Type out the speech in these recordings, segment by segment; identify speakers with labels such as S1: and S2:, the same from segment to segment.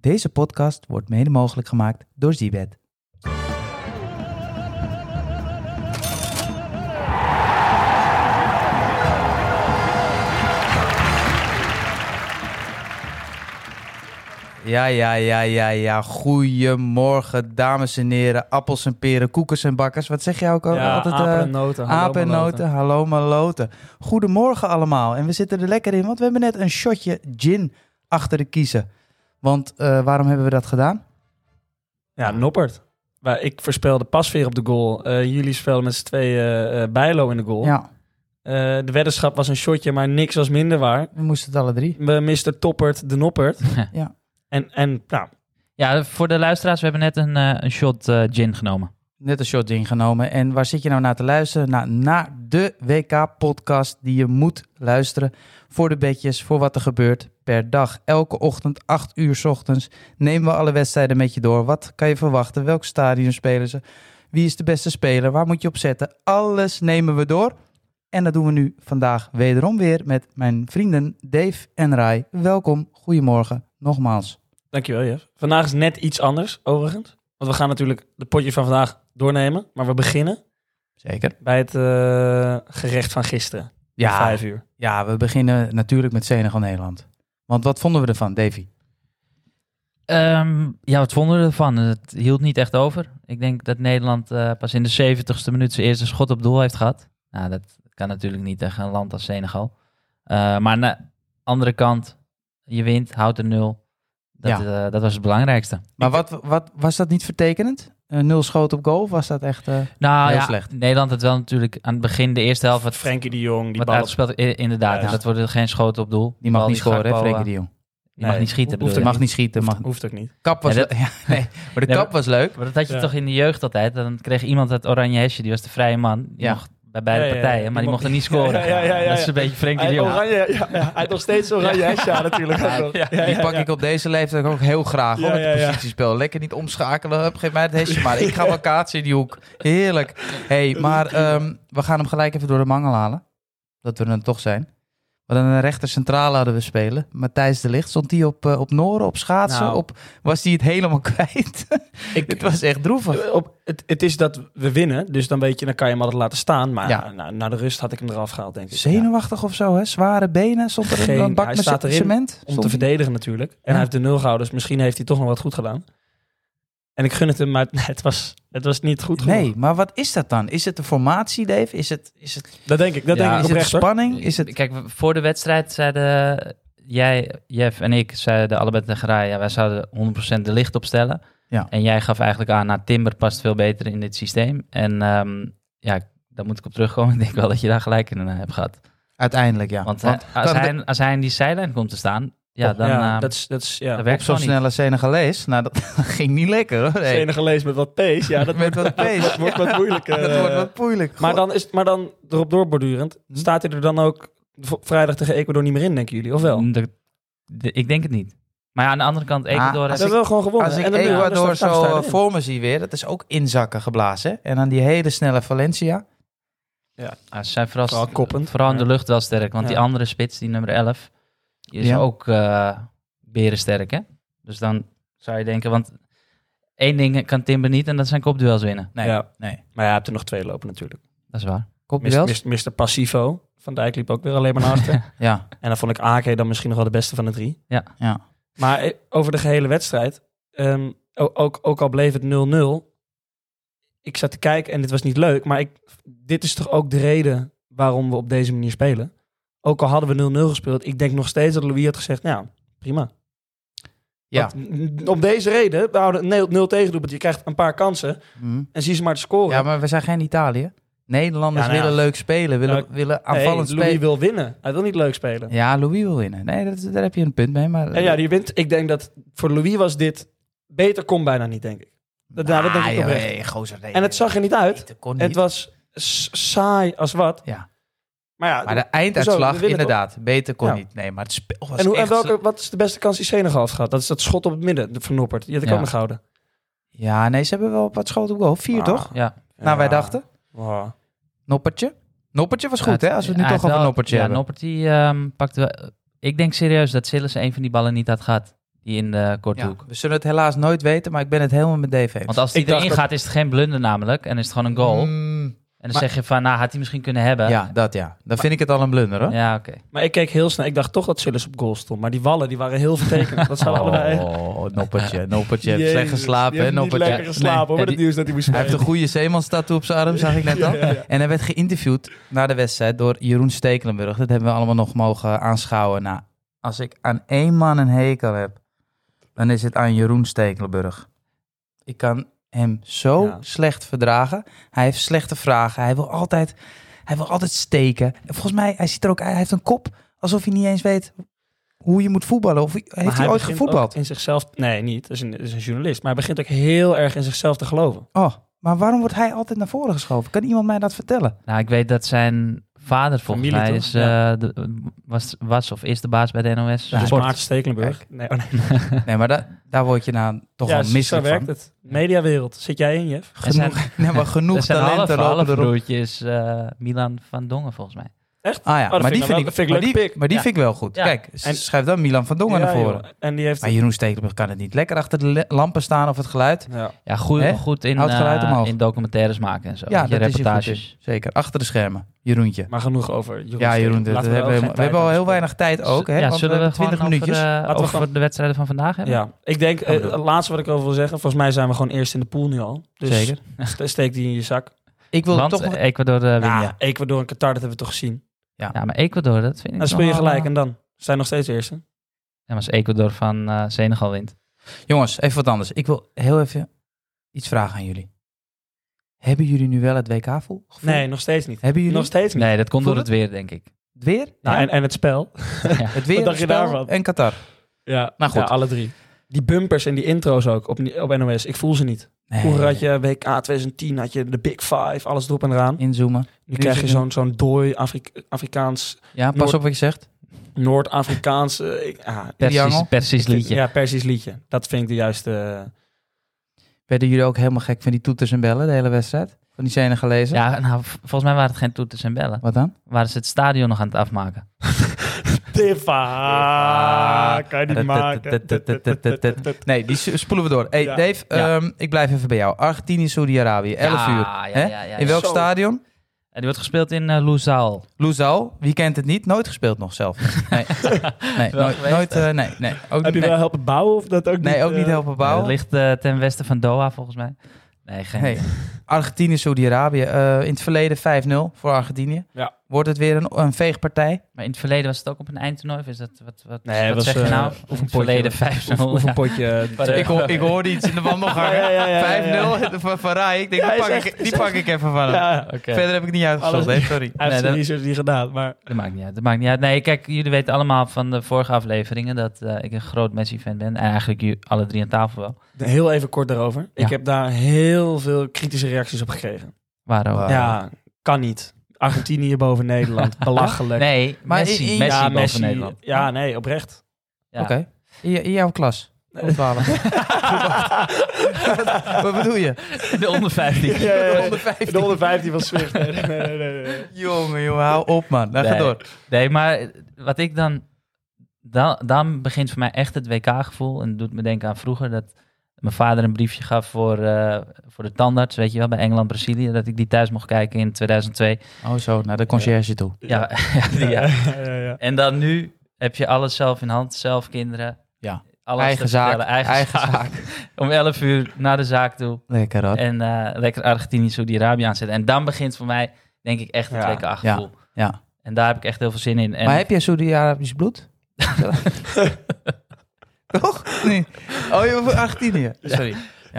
S1: Deze podcast wordt mede mogelijk gemaakt door Zibet. Ja, ja, ja, ja, ja. Goedemorgen, dames en heren. Appels en peren, koekers en bakkers. Wat zeg jij ook al- altijd? eh,
S2: apen en noten. hallo
S1: Apen en
S2: maloten.
S1: noten, hallo maloten. Goedemorgen allemaal. En we zitten er lekker in, want we hebben net een shotje gin achter de kiezen. Want eh, waarom hebben we dat gedaan?
S2: Ja, Noppert. Waar ik verspeelde pas weer op de goal. Eh, jullie speelden met z'n tweeën eh, eh, Bijlo in de goal.
S1: Ja,
S2: Eh, de weddenschap was een shotje, maar niks was minder waar.
S1: we moesten het alle drie.
S2: We misten Toppert de Noppert.
S1: Ja.
S2: En, en nou,
S3: Ja, voor de luisteraars, we hebben net een, eh, een shot eh, gin genomen.
S1: Net een shot ingenomen. En waar zit je nou naar te luisteren? Nou, naar de WK-podcast die je moet luisteren. Voor de bedjes, voor wat er gebeurt per dag. Elke ochtend, 8 uur 's ochtends, nemen we alle wedstrijden met je door. Wat kan je verwachten? Welk stadion spelen ze? Wie is de beste speler? Waar moet je op zetten? Alles nemen we door. En dat doen we nu vandaag wederom weer met mijn vrienden Dave en Rai. Welkom, goedemorgen, nogmaals.
S2: dankjewel Jeff. Vandaag is net iets anders, overigens. Want we gaan natuurlijk de potje van vandaag doornemen. Maar we beginnen
S1: Zeker.
S2: bij het eh, gerecht van gisteren. om
S1: Ja,
S2: Vijf uur.
S1: ja, we beginnen natuurlijk met Senegal-Nederland. Want wat vonden we ervan, Davy?
S3: Ehm, ja, wat vonden we ervan? Het hield niet echt over. Ik denk dat Nederland eh, pas in de 70ste minuut zijn eerste schot op doel heeft gehad. Nou, dat kan natuurlijk niet tegen een land als Senegal. Eh, maar aan de andere kant, je wint, houdt de nul. Dat, eh, dat was het belangrijkste.
S1: Maar wat, wat, was dat niet vertekenend? Een nul schoot op goal? Of was dat echt... eh,
S3: Nou
S1: Heel
S3: ja,
S1: slecht.
S3: Nederland had wel natuurlijk aan het begin de eerste helft wat,
S2: Frenkie de Jong, die
S3: wat
S2: bal.
S3: uitgespeeld. I- Inderdaad,
S2: Ja.
S3: dus dat worden geen schoten op doel.
S1: die mag
S3: Bal
S1: niet scoren, hè,
S3: Gakpo,
S1: Frenkie
S3: eh,
S1: de Jong.
S3: Die mag
S2: Nee,
S3: niet schieten,
S2: hoeft
S3: bedoel
S2: er
S3: je?
S1: mag niet schieten. Mag...
S2: Hoeft ook niet.
S1: Kap was...
S3: Ja,
S1: ja,
S3: dat-
S1: nee, maar de
S3: Nee,
S1: kap was leuk.
S3: Maar dat had je
S2: Ja.
S3: toch in de jeugd altijd? Dan kreeg iemand uit Oranje Hesje, die was de vrije man. Die
S1: Ja.
S3: mocht bij beide
S2: Ja, ja, ja.
S3: partijen, maar
S2: Die
S3: die
S2: mocht-
S3: mocht er niet scoren.
S2: Ja, ja, ja, ja,
S3: Dat
S2: ja.
S3: is een beetje Frenkie de
S2: Hij,
S3: Jong.
S2: oranje, ja, ja, hij had nog steeds oranje hesje aan natuurlijk.
S1: Ja,
S2: ook nog. Ja,
S1: Die
S2: ja,
S1: pak
S2: ja.
S1: ik op deze leeftijd ook heel graag, hoor,
S2: Ja,
S1: met
S2: ja,
S1: het
S2: ja.
S1: positiespel. Lekker niet omschakelen, hup, geef mij het hesje maar. Ik ga wel kaatsen in die hoek. Heerlijk. hey, maar ehm, we gaan hem gelijk even door de mangel halen. Dat we er dan toch zijn. Maar dan een rechter centrale hadden we spelen. Matthijs de Ligt, stond die op, eh, op Noren, op schaatsen?
S2: Nou.
S1: Op, was die het helemaal kwijt?
S2: Ik, eh,
S1: Het was echt droevig.
S2: op, het, het is dat we winnen, dus dan weet je, dan kan je hem altijd laten staan. Maar
S1: Ja.
S2: na, na de rust had ik hem eraf gehaald, denk ik. Ja.
S1: Zenuwachtig of zo, hè? Zware benen. Stond er in
S2: Geen-
S1: een bak
S2: hij
S1: met
S2: staat
S1: ce-
S2: erin
S1: cement. Stond
S2: Om te
S1: hij-
S2: verdedigen natuurlijk. En
S1: Ja.
S2: hij heeft de nul gehouden, dus misschien heeft hij toch nog wat goed gedaan. En ik gun het hem, maar het was, het was niet goed genoeg.
S1: Nee, maar wat is dat dan? Is het de formatie, Dave? Is het, is het,
S2: Dat denk ik, dat
S3: Ja,
S2: denk ik
S1: is het
S2: oprecht. hoor.
S1: spanning? Is het...
S3: Kijk, voor de wedstrijd zeiden jij, Jeff en ik, zeiden allebei tegen Rai, ja, wij zouden 100% de licht opstellen.
S1: Ja.
S3: En jij gaf eigenlijk aan, nou, Timber past veel beter in dit systeem. En ehm, ja, daar moet ik op terugkomen. Ik denk wel dat je daar gelijk in eh, hebt gehad.
S1: Uiteindelijk, ja.
S3: Want,
S1: Want
S3: eh, als,
S1: kan
S3: hij, als hij in die zijlijn komt te staan, ja, dan
S2: ja,
S3: eh,
S2: dat is, dat is
S3: dat
S2: ja.
S1: op
S3: werkt
S1: zo'n
S3: het niet.
S1: snelle Senegalees, nou, dat ging niet lekker, hoor.
S2: Het
S1: Hey.
S2: enige lees met wat pees, ja, dat
S1: Met wat pees.
S2: wordt wat moeilijk. eh.
S1: Dat wordt wat Hm? moeilijk.
S2: maar,
S1: God.
S2: dan is, maar dan erop doorbordurend, staat hij er dan ook v- vrijdag tegen Ecuador niet meer in, denken jullie, of wel?
S3: Mm, dat- de- ik denk het niet. Maar ja, aan de andere kant, Ecuador...
S1: Ah, als
S2: Ze
S3: heeft-
S1: ik-
S2: hebben wel gewoon gewonnen.
S1: Als ik
S2: en dan- ja, dus dan
S1: Ecuador
S2: staat- dan
S1: zo
S2: staat
S1: eh,
S2: hij erin.
S1: voor me zie weer, dat is ook inzakken geblazen. hè? En dan die hele snelle Valencia.
S3: ah, ze zijn vooral,
S2: Vooral koppend.
S3: vooral in de
S2: Ja.
S3: lucht wel sterk. Want
S2: Ja.
S3: die andere spits, die nummer 11, die is
S1: Ja.
S3: ook eh berensterk, hè? Dus dan zou je denken, want één ding kan Timber niet en dat zijn kopduels winnen.
S1: Nee,
S2: Ja.
S1: nee.
S2: Maar ja, hij hebt er nog twee lopen natuurlijk.
S3: Dat is waar.
S2: Mr.
S1: Kopduels?
S2: Mr. Mr. Passivo. Van Dijk liep ook weer alleen maar naar achter.
S1: Ja,
S2: en dan vond ik Ake dan misschien nog wel de beste van de drie.
S1: ja.
S2: Maar eh, over de gehele wedstrijd, ehm, o- ook, ook al bleef het 0-0. Ik zat te kijken en dit was niet leuk. Maar ik, dit is toch ook de reden waarom we op deze manier spelen. Ook al hadden we 0-0 gespeeld. Ik denk nog steeds dat Louis had gezegd, nou prima.
S1: Ja.
S2: Want, mm, om deze reden, we houden een 0 tegendoelpunt. Je krijgt een paar kansen
S1: Hm.
S2: en zie ze maar te scoren.
S1: Ja, maar we zijn geen Italië. Nederlanders
S2: Oh, Ja, nou ja.
S1: willen leuk spelen, willen,
S2: Nou,
S1: willen
S2: Nee,
S1: aanvallend
S2: Louis
S1: spelen.
S2: wil winnen. Hij wil niet leuk spelen.
S1: Ja, Louis wil winnen. Nee, dat, daar heb je een punt mee. Maar,
S2: Ja, ja, die wint. Ik denk dat voor Louis was dit... Beter kon bijna niet, denk ik. Dat, nou, dat denk ik
S1: Ah, joh,
S2: oprecht.
S1: hey, gozer, nee,
S2: En het
S1: nee,
S2: zag er niet uit.
S1: nee, dat kon
S2: Het
S1: niet.
S2: was s- saai als wat.
S1: Ja.
S2: Maar ja,
S1: Maar de
S2: Hoezo?
S1: einduitslag,
S2: We winnen
S1: inderdaad, beter kon
S2: Ja.
S1: niet. Nee, maar het spel was
S2: en, hoe, en
S1: echt...
S2: welke, wat is de beste kans die Senegal heeft gehad? Dat is dat schot op het midden de- van Noppert. Die had ik
S3: Ja.
S2: ook nog gehouden.
S1: Ja, nee, ze hebben wel wat schoten op goal. Vier,
S2: Ah,
S1: toch?
S3: Ja,
S1: Nou, wij
S2: Ja.
S1: dachten.
S2: Wow.
S1: Noppertje. Noppertje was goed,
S3: Ja,
S1: hè? Als we het nu
S3: hij
S1: toch
S3: heeft
S1: over
S3: wel-
S1: Noppertje
S3: ja,
S1: hebben.
S3: Noppert die ehm, pakte wel... Ik denk serieus dat Sillis een van die ballen niet had gehad. Die in de korte
S1: Ja,
S3: hoek.
S1: we zullen het helaas nooit weten, maar ik ben het helemaal met Dave eens.
S3: Want als die
S2: Ik dacht
S3: erin
S2: dat-
S3: gaat, is het geen blunder namelijk. En is het gewoon een goal. en
S1: Mm,
S3: dan
S1: maar-
S3: zeg je van, nou, had hij misschien kunnen hebben.
S1: ja, dat ja. Dan vind ik het al een blunder hoor.
S3: Ja, oké.
S2: Maar ik keek heel snel. Ik dacht toch dat Sillis op goal stond. Maar die wallen die waren heel vertekend. Dat zouden allebei...
S1: Oh, noppertje, noppertje. Heeft
S2: Jezus,
S1: slecht
S2: die
S1: geslapen, hè,
S2: heeft niet
S1: noppertje.
S2: lekker geslapen
S1: Nee,
S2: hoor, met
S1: die-
S2: het nieuws dat hij moest
S1: Hij heeft een goede zeemanstattoe op zijn arm, zag ik net al. En hij werd geïnterviewd na de wedstrijd door Jeroen Stekelenburg. Dat hebben we allemaal nog mogen aanschouwen. Nou, als ik aan één man een hekel heb, dan is het aan Jeroen Stekelenburg. Ik kan hem zo
S2: Ja.
S1: slecht verdragen. Hij heeft slechte vragen. Hij wil altijd, hij wil altijd steken. En volgens mij, hij ziet er ook uit. Hij heeft een kop alsof hij niet eens weet hoe je moet voetballen. Of heeft hij, ooit
S2: begint
S1: gevoetbald?
S2: ook in zichzelf... Nee, niet. Dat is, een, dat is een journalist. Maar hij begint ook heel erg in zichzelf te geloven.
S1: Oh, maar waarom wordt hij altijd naar voren geschoven? Kan iemand mij dat vertellen?
S3: Nou, ik weet dat zijn vader volgens
S2: Familie,
S3: mij
S2: toch?
S3: is, eh, de- was, was of is de baas bij de NOS.
S2: Dus
S3: Sport.
S2: Maarten Stekelenburg. Nee, oh nee.
S1: Nee, maar da- daar word je nou toch
S2: Ja,
S1: wel misselijk
S2: zo
S1: van.
S2: werkt het. Mediawereld. Zit jij in, Jeff?
S3: Er zijn,
S1: Genoeg, nee, maar
S3: er
S1: genoeg
S3: zijn half,
S1: talenten
S3: half
S1: lopen erop.
S3: broertjes eh, Milan van Dongen volgens mij.
S1: Ah ja,
S2: dat
S1: maar
S2: vind
S1: die
S2: ik
S1: vind
S2: nou wel-
S1: ik,
S2: dat vind ik
S1: maar
S2: leuk
S1: die,
S2: pick.
S1: maar die
S3: Ja.
S1: vind ik wel goed.
S3: Ja.
S1: Kijk,
S2: En-
S1: s- schrijf dan Milan van Dongen naar
S2: Ja,
S1: voren. Ah,
S2: joh. En die heeft...
S1: Maar Jeroen Stekelenburg kan het niet. Lekker achter de le- lampen staan of het geluid.
S2: Ja.
S3: Ja, goed,
S1: Hè?
S3: goed in,
S1: Houd geluid
S3: eh,
S1: omhoog.
S3: in documentaires maken en zo.
S1: ja,
S3: Weet je,
S1: dat is je goed
S3: reportages.
S1: in. Zeker, achter de schermen. Jeroentje.
S2: Maar genoeg over Jeroen
S1: ja, Jeroen, dat- we, hebben, helemaal- we hebben al heel weinig tijd ook. Hè?
S3: ja,
S1: want
S3: zullen we
S1: 20
S3: gewoon
S1: minuutjes.
S3: over, de,
S2: we
S3: over
S2: gewoon-
S3: de wedstrijden van vandaag hebben?
S2: Ja, ik denk, eh, het laatste wat ik over wil zeggen. Volgens mij zijn we gewoon eerst in de pool nu al. Dus
S1: Zeker.
S2: st- steek die in je zak.
S1: Ik wil
S3: Want
S1: toch nog...
S3: Ecuador eh, wint,
S2: Nou,
S3: ja.
S2: Ecuador en Qatar, dat hebben we toch gezien.
S3: Ja, maar Ecuador, dat
S1: Nou,
S3: vind ik
S2: Dan speel je
S3: nog wel,
S2: gelijk
S1: Ah.
S3: eh,
S2: en dan zijn nog steeds eerste.
S3: En als Ecuador van eh, Senegal wint.
S1: Jongens, even wat anders. Ik wil heel even iets vragen aan jullie. Hebben jullie nu wel het WK-gevoel?
S2: Nee, nog steeds niet.
S1: Hebben jullie
S2: Nog steeds niet.
S3: Nee, dat komt
S1: Voel
S3: door het weer, denk ik.
S1: het weer?
S2: Nou,
S1: Ja.
S2: en, en het spel.
S1: Het weer,
S2: Wat
S1: het
S2: dacht je
S1: spel
S2: daarvan?
S1: en Qatar.
S2: Ja,
S1: Nou goed.
S2: ja, alle drie. Die bumpers en die intro's ook op, op NOS, ik voel ze niet.
S1: Nee.
S2: Vroeger had je WK 2010, had je de Big Five, alles erop en eraan.
S1: Inzoomen.
S2: Nu krijg
S1: is
S2: je
S1: het
S2: zo'n zo'n dooi Afri- Afrikaans,
S1: Ja, pas
S2: Noord-
S1: op wat je zegt.
S2: Noord-Afrikaans... eh, ik- ah,
S1: Triangel.
S3: Persisch, Persisch liedje.
S2: Ja, Persisch liedje. Dat vind ik de juiste... eh,
S1: Werden jullie ook helemaal gek van die toeters en bellen de hele wedstrijd? Van die scène gelezen?
S3: Ja, nou, v- volgens mij waren het geen toeters en bellen.
S1: Wat dan?
S3: Waren ze het stadion nog aan het afmaken?
S2: Tiffa, kan je niet maken.
S1: Nee, die s- spoelen we door. Hey,
S2: Ja.
S1: Dave,
S3: Ja.
S1: ehm, ik blijf even bij jou. Argentinië, Saudi-Arabië, 11
S3: Ja,
S1: uur.
S3: ja,
S1: hè?
S3: ja, ja,
S1: in welk
S2: Zo.
S1: stadion?
S3: En die wordt gespeeld in eh Lusail.
S1: Luzal, wie kent het niet? Nooit gespeeld nog zelf. Nee, nee,
S3: Wel
S1: nooit,
S3: geweest,
S1: nooit, eh, nee, nee. Ook,
S2: Heb je
S1: nee,
S2: wel helpen bouwen of dat ook niet?
S1: nee, ook niet
S2: eh,
S1: helpen
S3: Het
S1: bouwen.
S3: ligt eh, ten westen van Doha, volgens mij. Nee, geen
S1: Hey, Argentinië, Saudi-Arabië. Eh, in het verleden 5-0 voor Argentinië.
S2: Ja.
S1: Wordt het weer een, een veegpartij?
S3: Maar in het verleden was het ook op een eindtoernooi? Of is dat, wat, wat,
S2: Nee,
S3: wat
S2: was,
S3: zeg je
S2: eh,
S3: nou?
S2: of een
S3: In het verleden
S2: potje. Of,
S3: 5-0.
S2: of een
S3: ja.
S2: potje. eh,
S3: Maar,
S1: Ik, hoor, ik hoorde iets in de wandel
S2: Ja, ja, ja, ja, ja.
S1: 5-0 van, van Rai. Ik denk,
S2: Ja,
S1: die,
S2: is
S1: pak
S2: echt-
S1: ik, die
S2: is
S1: pak ik even van hem.
S2: Ja,
S3: Oké.
S1: Verder heb ik niet uitgezocht,
S2: Alles-
S1: hè, sorry.
S2: hij heeft
S3: Nee,
S2: zijn
S3: dat-
S2: research niet gedaan, maar
S3: Dat maakt niet uit. Dat maakt niet uit. Nee, kijk, jullie weten allemaal van de vorige afleveringen dat eh, ik een groot Messi-fan ben. En eigenlijk jullie alle drie aan tafel wel.
S2: heel even kort daarover. Ik
S3: Ja.
S2: heb daar heel veel kritische reacties op gekregen.
S3: Waarom?
S1: Wow. Ah.
S2: Ja, kan niet. Argentinië boven Nederland, belachelijk.
S3: Nee,
S1: Maar
S3: Messi.
S1: in- in-
S3: Messi
S2: ja,
S3: boven
S2: Messi.
S3: Nederland.
S2: Ja, nee, oprecht.
S3: Ja.
S1: Oké. In, je- in jouw klas. Op 12. Wat bedoel je?
S3: De onder 15.
S2: Ja, ja, ja.
S1: Onder 15.
S2: De onder 15 van Swift. Nee, nee, nee, nee, nee.
S1: Jongen, jongen, hou op man. Nou, ga
S3: Nee.
S1: door.
S3: Nee, maar wat ik dan, dan... Dan begint voor mij echt het WK-gevoel. En het doet me denken aan vroeger dat mijn vader een briefje gaf voor, eh, voor de tandarts. Weet je wel, bij Engeland-Brazilië. Dat ik die thuis mocht kijken in 2002.
S1: Oh zo, naar de conciërge toe.
S3: Ja, ja, die- ja.
S2: ja, ja, ja.
S3: En dan nu heb je alles zelf in hand. Zelf kinderen.
S1: Ja.
S3: Alles
S1: eigen
S3: te
S1: zaak,
S3: vertellen, eigen, zaak. Om 11 uur naar de zaak toe.
S1: Lekker hoor.
S3: En eh, lekker Argentinië, Saudi-Arabië aanzetten. En dan begint voor mij, denk ik, echt het
S2: Ja.
S3: WK-gevoel.
S1: Ja.
S3: En daar heb ik echt heel veel zin in. En
S1: Maar heb jij Saudi-Arabisch bloed? Toch? Nee. Oh, je over Argentinië. Sorry.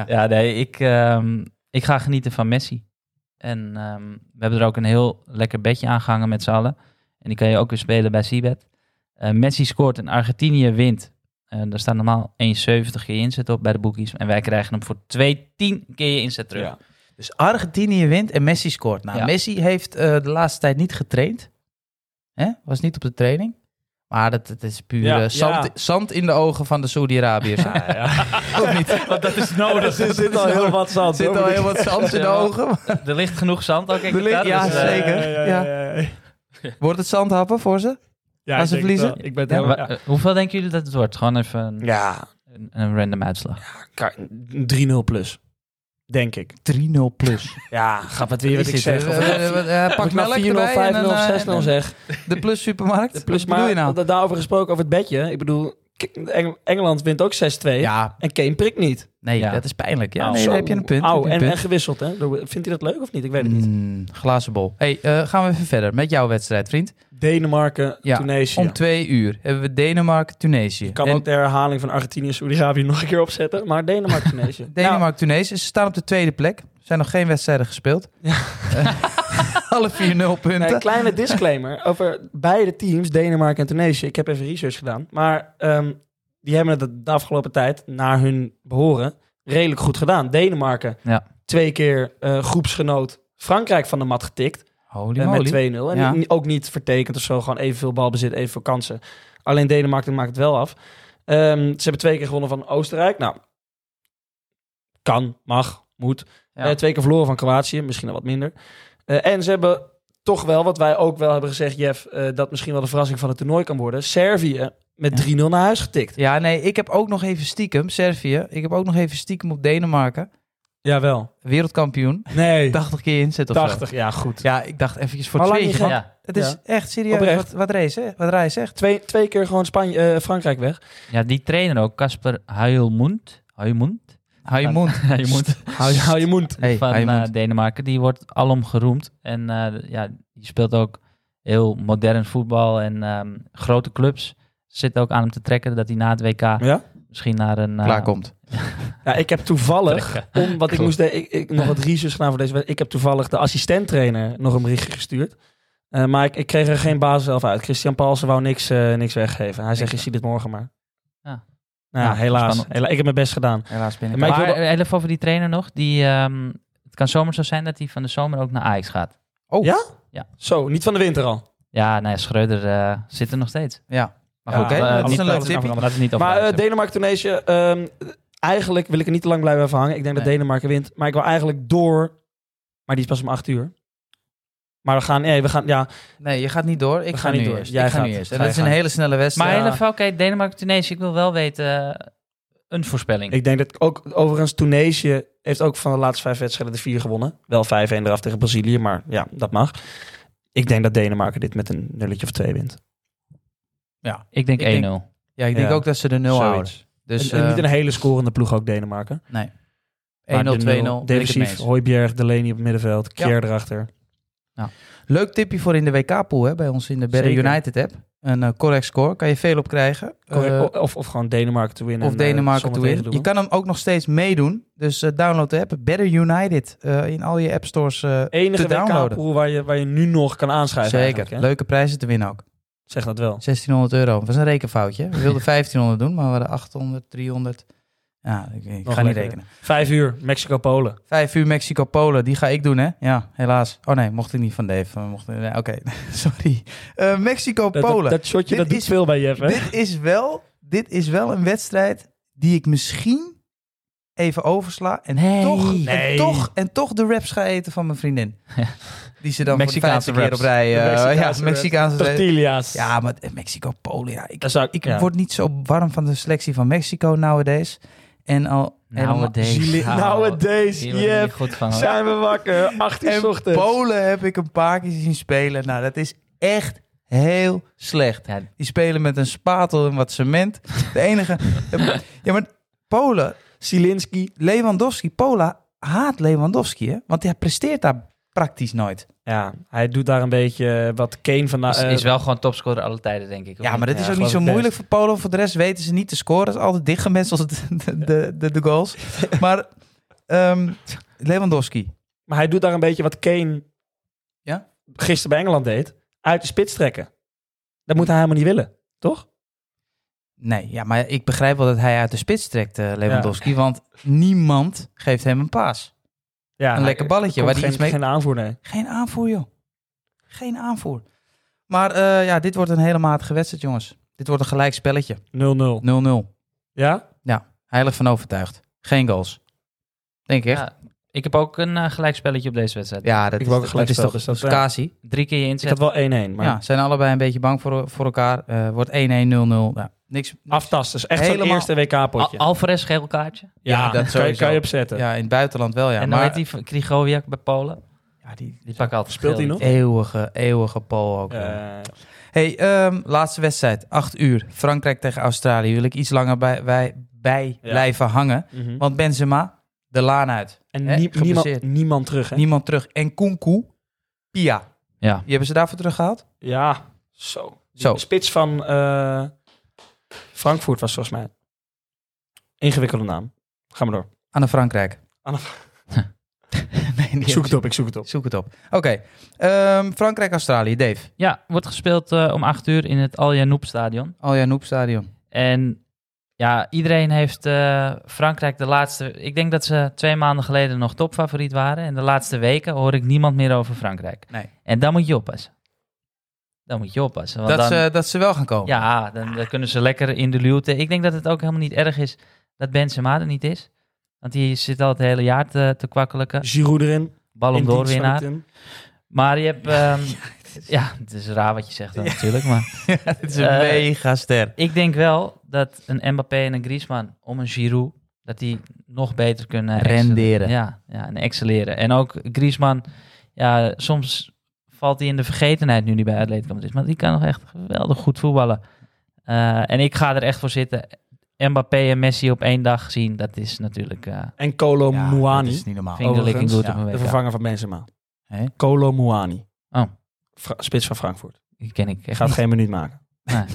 S3: Ja, nee, ik, ehm, ik ga genieten van Messi. En ehm, we hebben er ook een heel lekker bedje aan gehangen met z'n allen. En die kan je ook weer spelen bij Seabed. Eh, Messi scoort en Argentinië wint. Eh daar staat normaal 1,70 keer je inzet op bij de boekies. En wij krijgen hem voor 2,10 keer je inzet terug.
S2: Ja.
S1: Dus Argentinië wint en Messi scoort. Nou,
S3: Ja.
S1: Messi heeft eh, de laatste tijd niet getraind. Hè? Was niet op de training. Maar dat, dat is puur
S2: Ja,
S1: eh, zand,
S2: ja.
S1: zand in de ogen van de Saudi-Arabiërs.
S2: Ja, ja.
S1: Of niet?
S3: Want dat is nodig.
S2: Er zit al heel wat zand.
S1: Er zit al heel wat zand in de ogen.
S3: er ligt genoeg zand ook. in
S1: Er ligt-
S3: Qatar,
S1: ja,
S3: dus, eh,
S1: zeker.
S2: Ja, ja, ja, ja, ja.
S1: Wordt het zand happen voor ze?
S2: Ja,
S1: Gaan ze
S2: ik denk het wel.
S1: verliezen?
S2: Ik ben het
S3: Ja,
S2: helemaal-
S3: wa- eh, Hoeveel denken jullie dat het wordt? Gewoon even een,
S2: ja,
S3: een, een random uitslag.
S2: ka- 3-0 plus. Denk ik.
S1: 3-0 plus.
S2: Ja, gaat het weer wat ik zeg. Of- of
S1: Eh, Pak
S2: ik nou
S1: melk
S2: 4-0, 5-0 of
S1: zeg.
S2: 6-0 zeg.
S1: eh, De plus supermarkt?
S2: Plus,
S1: Wat bedoel
S2: maar
S1: je nou?
S2: da- daarover gesproken, over het bedje. Ik bedoel, k- Eng- Engeland wint ook 6-2.
S1: Ja,
S2: En Kane prikt niet. Nou,
S1: nee,
S3: Ja.
S1: dat is pijnlijk. Ja,
S3: Au.
S1: nee,
S2: Zo.
S1: daar heb je een punt.
S2: Au,
S1: heb
S2: en,
S1: je een
S2: en gewisseld, hè? Door- Vindt hij dat leuk of niet? Ik weet het
S1: punt.
S2: niet.
S1: Mm, glazen bol. hey, eh, gaan we even verder met jouw wedstrijd, vriend.
S2: Denemarken,
S1: Ja,
S2: Tunesië.
S1: Om twee uur hebben we Denemarken, Tunesië.
S2: Ik kan
S1: En
S2: ook de herhaling van Argentinië en Saudi-Arabië nog een keer opzetten. Maar Denemarken, Tunesië.
S1: Denemarken, Tunesië. Ze staan op de tweede plek. Er zijn nog geen wedstrijden gespeeld. Eh, Alle 4 0 punten.
S2: Nou, een kleine disclaimer over beide teams, Denemarken en Tunesië. Ik heb even research gedaan. Maar ehm, die hebben het de- de afgelopen tijd, naar hun behoren, redelijk goed gedaan. Denemarken
S3: Ja.
S2: twee keer eh, groepsgenoot Frankrijk van de mat getikt.
S1: Holy
S2: eh,
S1: moly.
S2: met 2-0. En
S1: Ja.
S2: ni- ook niet vertekend of zo. Gewoon evenveel balbezit, evenveel kansen. Alleen Denemarken maakt het wel af. Ehm, ze hebben twee keer gewonnen van Oostenrijk. Nou, kan, mag, moet.
S3: Ja.
S2: Eh, twee keer verloren van Kroatië, misschien al wat minder. Eh, en ze hebben toch wel, wat wij ook wel hebben gezegd, Jeff, eh, dat misschien wel de verrassing van het toernooi kan worden. Servië met
S1: Ja.
S2: 3-0 naar huis getikt.
S1: Ja, nee, ik heb ook nog even stiekem, Servië. Ik heb ook nog even stiekem op Denemarken.
S2: Jawel.
S1: Wereldkampioen.
S2: Nee.
S1: 80 keer inzet of zo.
S2: 80, ja goed.
S1: Ja, ik dacht eventjes voor
S2: Maar
S1: twee.
S2: lang niet
S1: want
S2: gek.
S3: Ja,
S1: Het is
S2: Ja.
S1: echt serieus
S2: Oprecht.
S1: wat, wat Ray zegt. Wat Ray zegt.
S2: Twee, twee keer gewoon Spanje, eh, Frankrijk weg.
S3: ja, die trainer ook, Kasper Huilmund. Huilmund?
S1: Hou je
S3: Ja.
S1: mond.
S3: Huilmund
S2: Hou, je- hou je mond.
S1: Hey,
S3: van
S1: hou je
S3: eh,
S1: mond.
S3: Denemarken. Die wordt alom geroemd. En eh, ja, die speelt ook heel modern voetbal en ehm, grote clubs. Zit ook aan hem te trekken dat hij na het WK
S2: Ja?
S3: misschien naar een... eh,
S1: Klaar komt.
S2: Ja, ik heb toevallig, om, wat ik moest de, ik, ik- nog wat research gedaan voor deze wedstrijd. Ik heb toevallig de assistenttrainer nog een berichtje gestuurd. Eh, maar ik, ik kreeg er geen basis zelf uit. Christian Paulsen wou niks, eh, niks weggeven. Hij zegt, je ziet het morgen maar.
S3: Ja.
S2: Nou,
S3: Ja,
S2: helaas.
S3: spannend.
S2: Hela- ik heb mijn best gedaan.
S1: Helaas ben ik.
S2: Maar
S3: Maar, eh,
S2: ik wilde-
S3: heel even over die trainer nog. Die, ehm, het kan zomaar zo zijn dat hij van de zomer ook naar Ajax gaat.
S1: Oh,
S2: Ja?
S3: Ja.
S2: Zo, niet van de winter al.
S3: Ja, nee, Schreuder eh, zit er nog steeds.
S1: Ja.
S3: Maar
S2: Ja,
S3: goed,
S1: Oké,
S3: eh,
S1: dat is
S3: niet,
S1: een leuk tipje.
S3: laten we het niet over
S2: Maar eh,
S3: Ajax hebben.
S2: Denemarken, Tunesië, ehm, eigenlijk wil ik er niet te lang blijven van hangen. Ik denk dat
S1: Nee.
S2: Denemarken wint. Maar ik wil eigenlijk door, maar die is pas om acht uur. Maar we gaan, nee, we gaan, ja,
S1: Nee, je gaat niet door. Ik ga
S2: We gaan
S1: nu
S2: niet door.
S1: eerst.
S2: Jij
S1: ik ga
S2: gaat.
S1: nu eerst. En
S2: Ga
S1: dat
S2: je
S1: is een
S2: gaan.
S1: hele snelle wedstrijd.
S3: Maar
S2: Ja.
S3: in ieder geval, oké, Denemarken, Tunesië. Ik wil wel weten, eh, een voorspelling.
S2: Ik denk dat ook, overigens, Tunesië heeft ook van de laatste vijf wedstrijden de vier gewonnen. Wel 5-1 eraf tegen Brazilië, maar ja, dat mag. Ik denk dat Denemarken dit met een nulletje of twee wint.
S3: Ik denk
S1: Ik denk-
S3: 1-0.
S1: Ja, ik denk
S2: Ja.
S1: ook dat ze de nul
S2: Zoiets.
S1: houden. Dus
S2: En- en
S1: eh,
S2: niet een hele scorende ploeg ook Denemarken. Maar
S1: 1-0,
S2: de
S1: 2-0. ben ik
S2: nul,
S1: het mee
S2: Defensief,
S1: eens.
S2: Hooiberg, Delaney op het middenveld,
S1: Ja.
S2: Keer erachter.
S1: Leuk tipje voor in de WK-pool hè, bij ons in de Better
S2: Zeker.
S1: United app. Een eh, correct score, kan je veel op krijgen. Eh,
S2: Correct. of, of gewoon Denemarken te winnen.
S1: of
S2: en, eh,
S1: Denemarken
S2: zonder
S1: toe in. Je
S2: tegendoelen.
S1: kan hem ook nog steeds meedoen. Dus eh, download de app Better United eh, in al je app stores eh,
S2: Enige
S1: te downloaden.
S2: WK-pool waar je, waar je nu nog kan aanschrijven. eigenlijk,
S1: Zeker,
S2: hè?
S1: leuke prijzen te winnen ook.
S2: Zeg dat wel.
S1: 1600 euro, dat was een rekenfoutje. We wilden 1500 doen, maar we hadden 800, 300. Ja, ik, ik
S2: Nog
S1: ga niet
S2: lekker.
S1: rekenen.
S2: Vijf uur, Mexico-Polen.
S1: Vijf uur Mexico-Polen, die ga ik doen, hè? Ja, helaas. Oh nee, mocht ik niet van Dave. eh, Mocht, nee, Oké, sorry. Eh,
S2: Dat, dat,
S1: Mexico-Polen.
S2: dat shotje,
S1: Dit
S2: dat doet
S1: is-
S2: veel bij Jeff, hè?
S1: Dit is, wel, dit is wel een wedstrijd die ik misschien even oversla. En,
S3: Nee.
S1: toch, en,
S2: Nee.
S1: toch, en toch de raps ga eten van mijn vriendin. Die ze dan
S3: Mexicaanse
S1: voor de vijfde
S3: wraps.
S1: keer op rij... eh,
S2: De Mexicaanse
S1: ja, Mexicaanse wraps.
S2: Tortillas.
S1: Ja, maar eh, Mexico-Polen, ja. Ik,
S2: Dat zou
S1: ik
S2: ja.
S1: word niet zo warm van de selectie van Mexico nowadays. En al...
S3: Nowadays.
S1: helemaal-
S3: Ja.
S2: Nowadays,
S3: Hier word ik
S2: Jeff.
S3: niet goed van. hoor.
S2: Zijn we wakker? 8 uur
S1: En
S2: 's ochtends.
S1: Polen heb ik een paar keer zien spelen. Nou, dat is echt heel slecht.
S3: Ja,
S1: Die spelen met een spatel en wat cement. De enige... Ja, maar Polen...
S2: Zielinski.
S1: Lewandowski, Pola haat Lewandowski, hè? Want hij presteert daar praktisch nooit.
S2: Ja, hij doet daar een beetje eh, wat Kane vandaag...
S3: is, is wel gewoon topscorer alle tijden, denk ik. of
S1: Ja,
S3: niet?
S1: maar dat is
S2: Ja,
S1: ook niet
S2: geloof
S1: zo
S2: ik
S1: moeilijk
S2: best.
S1: voor Polen. Voor de rest weten ze niet te scoren. Dat is altijd dichtgemetseld, de, de, de, de goals. Maar ehm, Lewandowski.
S2: Maar hij doet daar een beetje wat Kane
S1: Ja?
S2: gisteren bij Engeland deed. Uit de spits trekken. Dat moet hij helemaal niet willen, toch?
S1: Nee, ja, maar ik begrijp wel dat hij uit de spits trekt, eh, Lewandowski. Want niemand geeft hem een paas.
S2: Ja,
S1: Een
S2: hij-
S1: lekker balletje
S2: komt
S1: waar hij
S2: geen,
S1: iets mee-
S2: Geen aanvoer, nee.
S1: Geen aanvoer, joh. Geen aanvoer. Maar eh, ja, dit wordt een hele matige wedstrijd, jongens. Dit wordt een gelijk spelletje.
S2: 0-0.
S1: 0-0.
S2: Ja?
S1: Heilig van overtuigd. Geen goals. Denk ik echt.
S3: Ja, ik Ik heb ook een eh, gelijkspelletje op deze wedstrijd.
S1: Ja, dat
S2: Ik
S1: is,
S2: wou ook
S1: dat,
S2: gelijk
S1: is toch
S2: spel, dus dat-
S1: Kasi.
S3: Drie keer je
S2: Ik
S3: inzet.
S2: had wel 1-1, maar
S1: Ja, zijn allebei een beetje bang voor, voor elkaar. Eh, wordt 1-1, 0-0. Ja, niks.
S2: aftasten. is echt zo'n
S1: Helemaal- Ah,
S2: eerste WK-potje.
S3: Al- Alvarez geel kaartje.
S1: Ja, dat
S2: kan, je,
S1: sowieso.
S2: kan je opzetten.
S1: Ja, in het buitenland wel, ja.
S3: en dan
S1: maar
S3: heet die van Krigoviak bij Polen.
S1: ja, die
S3: Die pakken altijd
S2: Speelt
S3: geel.
S2: hij nog?
S1: eeuwige, eeuwige Paul ook. ja.
S2: Eh,
S1: Hey, ehm, laatste wedstrijd, 8 uur. Frankrijk tegen Australië. Wil ik iets langer bij, bij, bij
S2: Ja.
S1: blijven hangen.
S2: mhm.
S1: Want Benzema, de laan uit.
S2: En
S1: Hè,
S2: nie- niemand,
S1: geblesseerd.
S2: niemand terug, hè?
S1: Niemand terug. En Kunku, Pia.
S3: Ja.
S1: Die hebben ze daarvoor teruggehaald?
S2: Ja, zo. Die
S1: Zo.
S2: spits van eh, Frankfurt was volgens mij. Ingewikkelde naam. Ga maar door.
S1: Aan de Frankrijk.
S2: Aan de
S1: nee,
S2: Ik
S1: niet.
S2: zoek het op, ik zoek het op.
S1: Zoek het op. Oké. ehm, Frankrijk-Australië. Dave,
S3: Ja, wordt gespeeld eh, om 8 uur in het Al Janoub stadion.
S1: Al Janoub Stadion.
S3: En ja, iedereen heeft eh, Frankrijk de laatste... Ik denk dat ze twee maanden geleden nog topfavoriet waren. En de laatste weken hoor ik niemand meer over Frankrijk.
S1: Nee.
S3: En dan moet je oppassen. Dan moet je oppassen. Want
S1: Dat, eh,
S3: dan,
S1: ze, dat ze wel gaan komen.
S3: Ja, dan, dan kunnen ze lekker in de luwte. Ik denk dat het ook helemaal niet erg is dat Benzema er niet is. Want die zit al het hele jaar te, te kwakkelijken.
S2: Giroud erin.
S3: Ballon
S2: Dus in
S3: d'Or
S2: dienst van het
S3: winnaar.
S2: team.
S3: Maar je hebt... ehm, ja, het is raar wat je zegt dan natuurlijk. Maar
S1: Het is een
S3: Eh,
S1: mega ster.
S3: ik denk wel dat een Mbappé en een Griezmann om een Giroud... dat die nog beter kunnen... excelleren.
S1: Renderen.
S3: Ja, ja, en excelleren. En ook Griezmann... Ja, soms valt hij in de vergetenheid nu die bij Atletico Madrid is. Maar die kan nog echt geweldig goed voetballen. Eh, en ik ga er echt voor zitten. Mbappé en Messi op één dag zien, dat is natuurlijk... eh,
S2: En Colo
S1: Ja,
S2: Muani.
S1: Dat is niet normaal.
S3: Vind ik de licking goed
S2: Overigens,
S3: op een
S2: De
S3: week.
S2: vervanger van Benzema.
S1: Hé?
S2: Colo Muani.
S3: Oh.
S2: Fra- spits van Frankfurt.
S3: Die ken ik echt
S2: Gaat
S3: niet.
S2: geen minuut maken.
S3: Nee.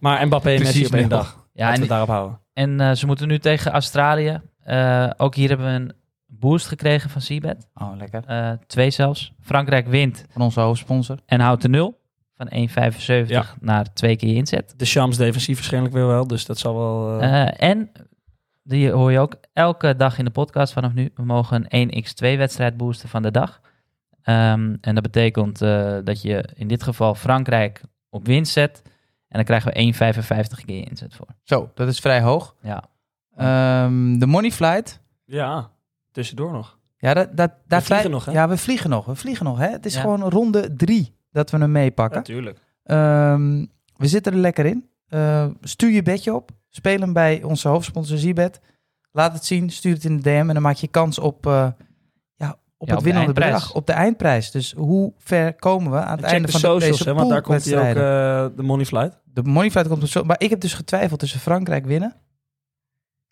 S2: Maar Mbappé en
S1: Precies
S2: Messi op één
S1: nul.
S2: dag.
S3: Ja,
S2: Laten we
S3: en
S2: het daarop houden.
S3: en eh, ze moeten nu tegen Australië. Eh, ook hier hebben we een boost gekregen van Seabed.
S1: Oh, lekker.
S3: Eh, twee zelfs. Frankrijk wint
S1: Van onze hoofdsponsor.
S3: en houdt de nul. Van 1,75
S2: Ja.
S3: naar twee keer je inzet.
S2: De Shams defensief waarschijnlijk weer wel. Dus dat zal wel... eh,
S3: Eh, en, die hoor je ook elke dag in de podcast vanaf nu. We mogen een 1x2 wedstrijd boosten van de dag. Ehm, en dat betekent eh, dat je in dit geval Frankrijk op winst zet. En dan krijgen we 1,55 keer je inzet voor.
S1: Zo, dat is vrij hoog.
S3: Ja.
S1: Ehm, de Money Flight.
S2: ja, tussendoor nog.
S1: Ja, dat, dat, daar
S2: vliegen
S1: vlij-
S2: nog, hè?
S1: Ja, we vliegen nog. We vliegen nog, hè? Het is
S3: Ja.
S1: gewoon ronde drie dat we hem meepakken.
S2: Natuurlijk.
S1: Ehm, we zitten er lekker in. Eh, stuur je bedje op. Speel hem bij onze hoofdsponsor Zibet. Laat het zien. Stuur het in de DM. En dan maak je kans op, eh, ja, op
S3: de
S1: het winnende
S3: eindprijs.
S1: bedrag. Op de eindprijs. Dus hoe ver komen we aan het
S2: Check
S1: einde
S2: de
S1: van de-
S2: socials,
S1: deze
S2: hè, want daar komt hij ook
S1: poolwedstrijden?
S2: eh, de money flight.
S1: De Moneyflight komt op zo. Maar ik heb dus getwijfeld tussen Frankrijk winnen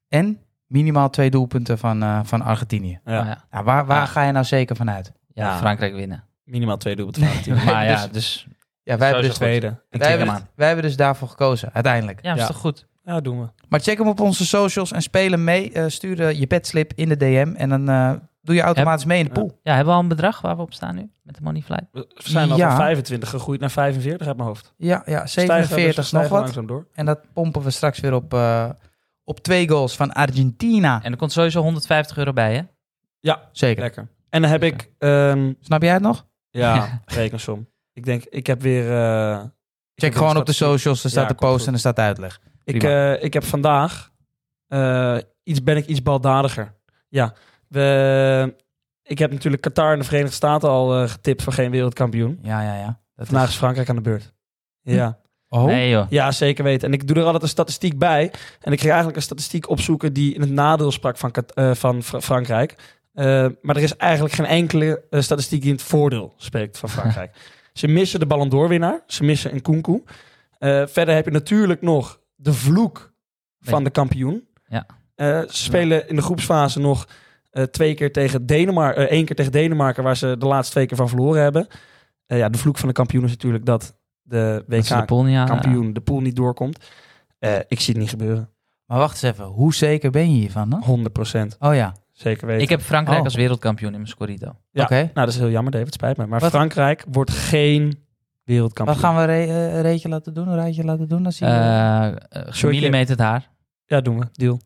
S1: en minimaal twee doelpunten van, eh, van Argentinië.
S2: Ja.
S3: Maar Oh ja,
S1: Nou, waar waar
S3: Ja.
S1: ga je nou zeker van uit?
S3: ja,
S2: Ja.
S3: Frankrijk winnen.
S2: Minimaal twee doelpunten van het team.
S3: Maar ja,
S1: dus-
S3: dus
S1: Ja, wij hebben,
S3: Sowieso
S1: dus,
S3: goed.
S2: Tweede. En
S1: wij,
S2: check
S1: hebben
S2: hem
S1: dus,
S2: aan.
S1: wij hebben dus daarvoor gekozen, uiteindelijk.
S3: Ja, dat is
S2: Ja.
S3: toch goed.
S2: Ja, doen we.
S1: Maar check hem op onze socials en speel hem mee. Eh, stuur eh, je bedslip in de DM en dan eh, doe je automatisch mee in de
S2: Ja.
S1: pool.
S3: Ja, hebben we al een bedrag waar we op staan nu met de money flight?
S2: We zijn al
S1: Ja.
S2: van 25 gegroeid naar 45 uit mijn hoofd.
S1: Ja, ja
S2: Stijgen, dus we
S1: 47 nog
S2: stijgen
S1: wat.
S2: langzaam door.
S1: En dat pompen we straks weer op, eh, op twee goals van Argentina.
S3: En er komt sowieso 150 euro bij, hè?
S1: Zeker.
S2: Lekker. En dan heb ik... ehm,
S1: Snap jij het nog?
S2: ja, rekensom. Ik denk, ik heb weer... eh, ik heb
S1: Check
S2: weer
S1: gewoon
S2: een
S1: op de
S2: statistiek.
S1: socials. Er staat
S2: Ja,
S1: de
S2: komt
S1: post
S2: goed.
S1: en er staat de uitleg.
S2: Ik, eh, ik heb vandaag... eh, iets ben ik iets baldadiger. Ja, we, ik heb natuurlijk Qatar en de Verenigde Staten al eh, getipt voor geen wereldkampioen.
S1: Ja, ja, ja. Dat
S2: Vandaag
S1: is-
S2: is Frankrijk aan de beurt. Ja.
S1: Oh,
S3: Nee, joh.
S2: ja, zeker weten. En ik doe er altijd een statistiek bij. En ik ging eigenlijk een statistiek opzoeken die in het nadeel sprak van, Kat- eh, van Fra- Frankrijk. Eh, maar er is eigenlijk geen enkele eh, statistiek die in het voordeel spreekt van Frankrijk. ze missen de Ballon d'Or winnaar. Ze missen een Kunku. Eh, verder heb je natuurlijk nog de vloek van
S3: Nee.
S2: de kampioen.
S3: Ja.
S2: Eh, ze spelen in de groepsfase nog eh, twee keer tegen Denemarken. eh, één keer tegen Denemarken, waar ze de laatste twee keer van verloren hebben. Eh, ja, de vloek van de kampioen is natuurlijk dat de
S3: Dat ze de
S2: WK
S3: pool niet aan-
S1: Ah,
S2: kampioen de pool niet doorkomt. Eh, ik zie het niet gebeuren.
S1: maar wacht eens even. Hoe zeker ben je hiervan dan?
S2: 100%
S1: Oh ja,
S2: zeker weten.
S3: Ik heb Frankrijk
S1: Oh.
S3: als wereldkampioen in mijn scorito.
S2: Ja.
S1: oké.
S2: Nou, dat is heel jammer, David. Spijt me. Maar
S1: Wat-
S2: Frankrijk wordt geen
S1: Wat
S2: wereldkampioen.
S1: gaan we re- eh, een reetje laten doen? Een rijtje laten doen? Dan zie je
S2: Eh,
S3: Eh, Gemillimeterd haar.
S2: Ja, doen we. Deal.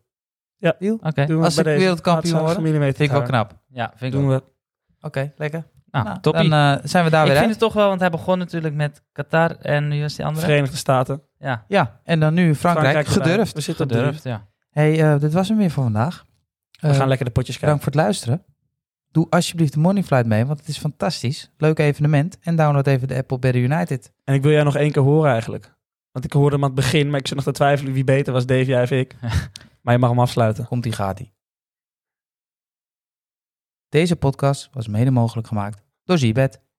S1: deal.
S3: Oké.
S2: Doen we
S1: Als
S2: bij
S1: ik
S2: deze.
S1: wereldkampioen
S2: Laat
S1: word,
S2: ze millimeter
S1: Vind ik wel
S2: houden.
S1: knap.
S3: Ja, vind ik
S2: Doen
S3: ook.
S2: we.
S1: Eh, Oké, lekker.
S3: Nou,
S1: Nou,
S3: toppie.
S1: Dan eh, zijn we daar weer
S3: ik vind
S1: uit.
S3: het toch wel, want hij begon natuurlijk met Qatar en nu was die andere.
S2: Verenigde Staten.
S3: ja,
S1: Ja, en dan nu Frankrijk. Dus-
S2: erbij.
S1: gedurfd.
S2: We zitten op
S3: gedurfd, ja.
S1: hey, eh, dit was hem weer voor vandaag.
S2: drie. We
S1: Eh,
S2: gaan lekker de potjes kijken.
S1: bedankt voor het luisteren. Doe alsjeblieft de Morning Flight mee, want het is fantastisch. Leuk evenement. En download even de Apple Better United.
S2: En ik wil jij nog één keer horen eigenlijk. Want ik hoorde hem aan het begin, maar ik zit nog te twijfelen wie beter was, Dave, jij of ik. maar je mag hem afsluiten.
S1: Komt die gaat die. Deze podcast was mede mogelijk gemaakt door Zibet.